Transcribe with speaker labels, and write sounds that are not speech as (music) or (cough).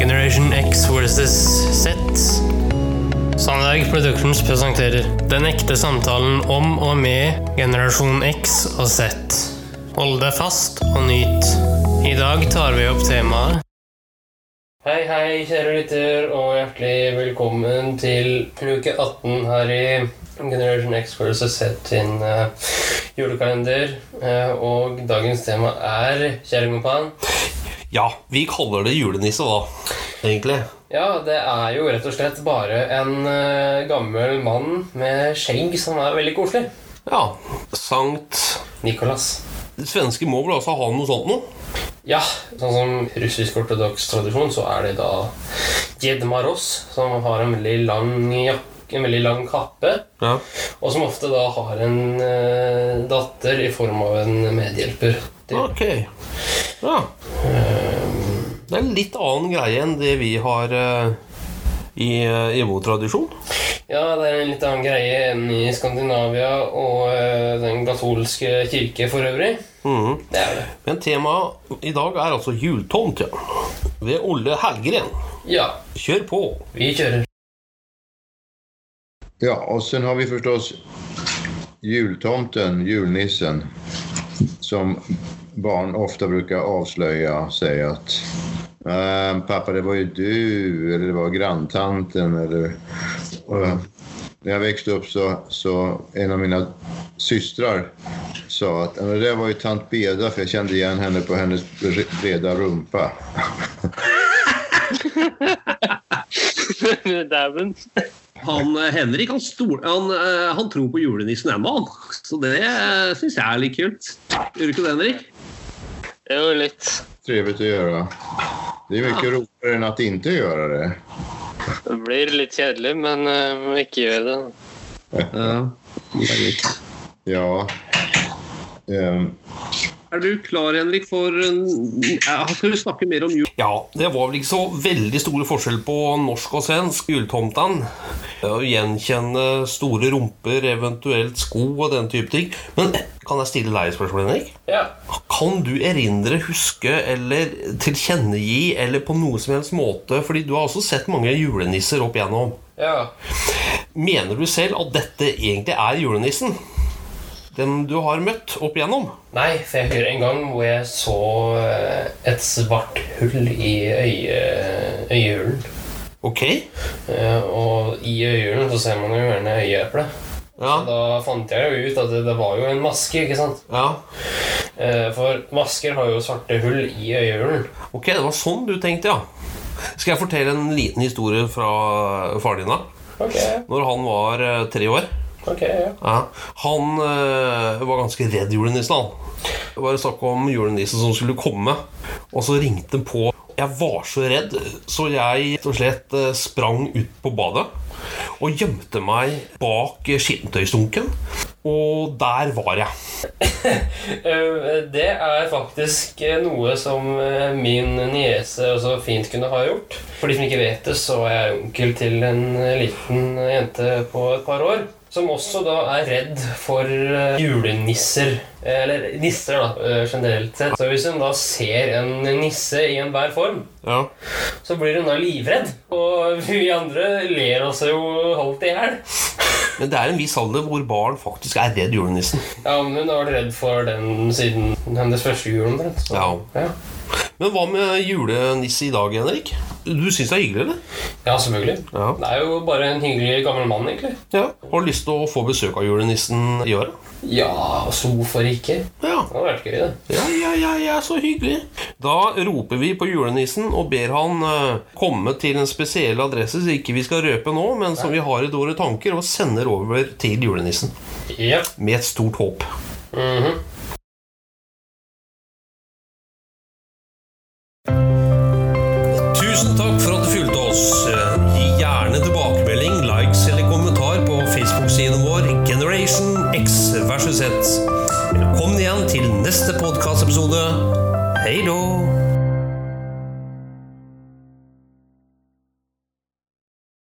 Speaker 1: Generation X versus Z. Sandberg Productions presenterer Den ekte samtalen om og med generasjon X og Z. Hold deg fast og nyt. I dag tar vi opp temaet Hei, hei, kjære lytter, og hjertelig velkommen til uke 18 her i Generation X versus Z sin eh, julekalender. Eh, og dagens tema er kjerringmoppan.
Speaker 2: Ja, vi kaller det julenisse da, egentlig.
Speaker 1: Ja, det er jo rett og slett bare en eh, gammel mann med skjegg som er veldig koselig.
Speaker 2: Ja, Sankt
Speaker 1: Nikolas.
Speaker 2: Svensker må vel altså ha noe sånt nå?
Speaker 1: Ja, sånn som russisk ortodoks tradisjon, så er det da Jed Maros, som har en veldig lang jakke, en veldig lang kappe,
Speaker 2: Ja.
Speaker 1: og som ofte da har en eh, datter i form av en medhjelper. Det,
Speaker 2: Ok. Ja. Eh, Det er en litt annen greie enn det vi har eh, i, eh, i vår tradisjon.
Speaker 1: ja, det er en litt annen greie enn i Skandinavia og eh, den katolske kirke for øvrig.
Speaker 2: Mhm.
Speaker 1: Det er det.
Speaker 2: Men temaet i dag er altså jultomt, ja. Ved Olle Helgren.
Speaker 1: Ja,
Speaker 2: Kjør på.
Speaker 1: vi kjører.
Speaker 3: Ja, och sen har vi förstås jultomten, julnissen, som barn ofta brukar avslöja och säga att "Ehm, pappa, det var ju du, eller det var granntanten, eller... Och när jag växte upp så, så en av mina systrar sa att "Ja, men det där var ju tant Beda, för jag kände igen henne på hennes breda rumpa.
Speaker 4: (laughs)
Speaker 3: (laughs)
Speaker 4: Dæven.
Speaker 5: Han eh, Henrik han, stol, han, eh, han tror på julenissen ennå, han. Så det eh, syns jeg er litt kult. Gjør du ikke det, Henrik?
Speaker 4: Jo, litt.
Speaker 3: Trevligt att göra. Det är mycket roligare än att inte göra det.
Speaker 4: Det blir litt kjedelig, men eh, ikke gjør det.
Speaker 3: Ja. Ehm,
Speaker 5: Er du klar, Henrik, for en... Jeg skal snakke mer om jul.
Speaker 2: Ja, det var vel ikke så veldig store forskjell på norsk og svensk jultomten. Det Å gjenkjenne store rumper, eventuelt sko og den type ting. Men kan jeg stille deg et spørsmål, Henrik?
Speaker 1: Ja.
Speaker 2: Kan du erindre, huske eller tilkjennegi eller på noe som helst måte? Fordi du har også sett mange julenisser opp igjennom.
Speaker 1: Ja.
Speaker 2: Mener du selv at dette egentlig er julenissen? Den du har møtt opp igjennom?
Speaker 1: Nei, for jeg husker en gang hvor jeg så eh, et svart hull i øye, øyehulen.
Speaker 2: Ok?
Speaker 1: Eh, Og i øyehulen så ser man jo gjerne øyeeplet.
Speaker 2: Ja.
Speaker 1: Da fant jeg jo ut at det, det var jo en maske, ikke sant?
Speaker 2: ja.
Speaker 1: Eh, For masker har jo svarte hull i øyehulen.
Speaker 2: Ok, det var sånn du tenkte, ja. Skal jeg fortelle en liten historie fra faren din? da?
Speaker 1: Ok,
Speaker 2: Når han var eh, tre år
Speaker 1: ok, ja.
Speaker 2: ja, Han eh, var ganske redd julenissen han. Det var snakk om julenissen som skulle komme Og så ringte han på Jeg var så redd Så jeg rett og slett eh, sprang ut på badet Og gjemte meg bak eh, skittentøystunken Og der var jeg
Speaker 1: Eh, Det er faktisk eh, noe som eh, min niese også fint kunne ha gjort. For de som ikke vet det, så er jeg onkel til en eh, liten eh, jente på et par år. Som også da er redd for eh, julenisser. Eh, Eller nisser, da, eh, generelt sett. Så hvis hun da ser en nisse i enhver form,
Speaker 2: ja.
Speaker 1: så blir hun da livredd. Og (laughs) vi andre ler oss jo halvt i hjel.
Speaker 2: Men det er en viss alder hvor barn faktisk er redd julenissen
Speaker 1: Ja, men hun har vært redd for den siden hennes første jul, omtrent. så-
Speaker 2: Ja.
Speaker 1: ja.
Speaker 2: Men hva med julenisse i dag, Henrik? Du synes det er hyggelig, eller?
Speaker 1: Ja, selvfølgelig.
Speaker 2: Ja.
Speaker 1: Det er jo bare en hyggelig gammel mann, egentlig.
Speaker 2: ja Har du lyst til å få besøk av julenissen i året?
Speaker 1: Ja, så hvorfor ikke?
Speaker 2: Ja
Speaker 1: Det hadde vært gøy, det.
Speaker 2: Ja, ja, ja, ja, så hyggelig. Da roper vi på julenissen og ber han eh, komme til en spesiell adresse som ikke vi skal røpe nå, men som vi har i våre tanker, og sender over til julenissen.
Speaker 1: Ja.
Speaker 2: Med et stort håp.
Speaker 1: mhm.
Speaker 2: Eh,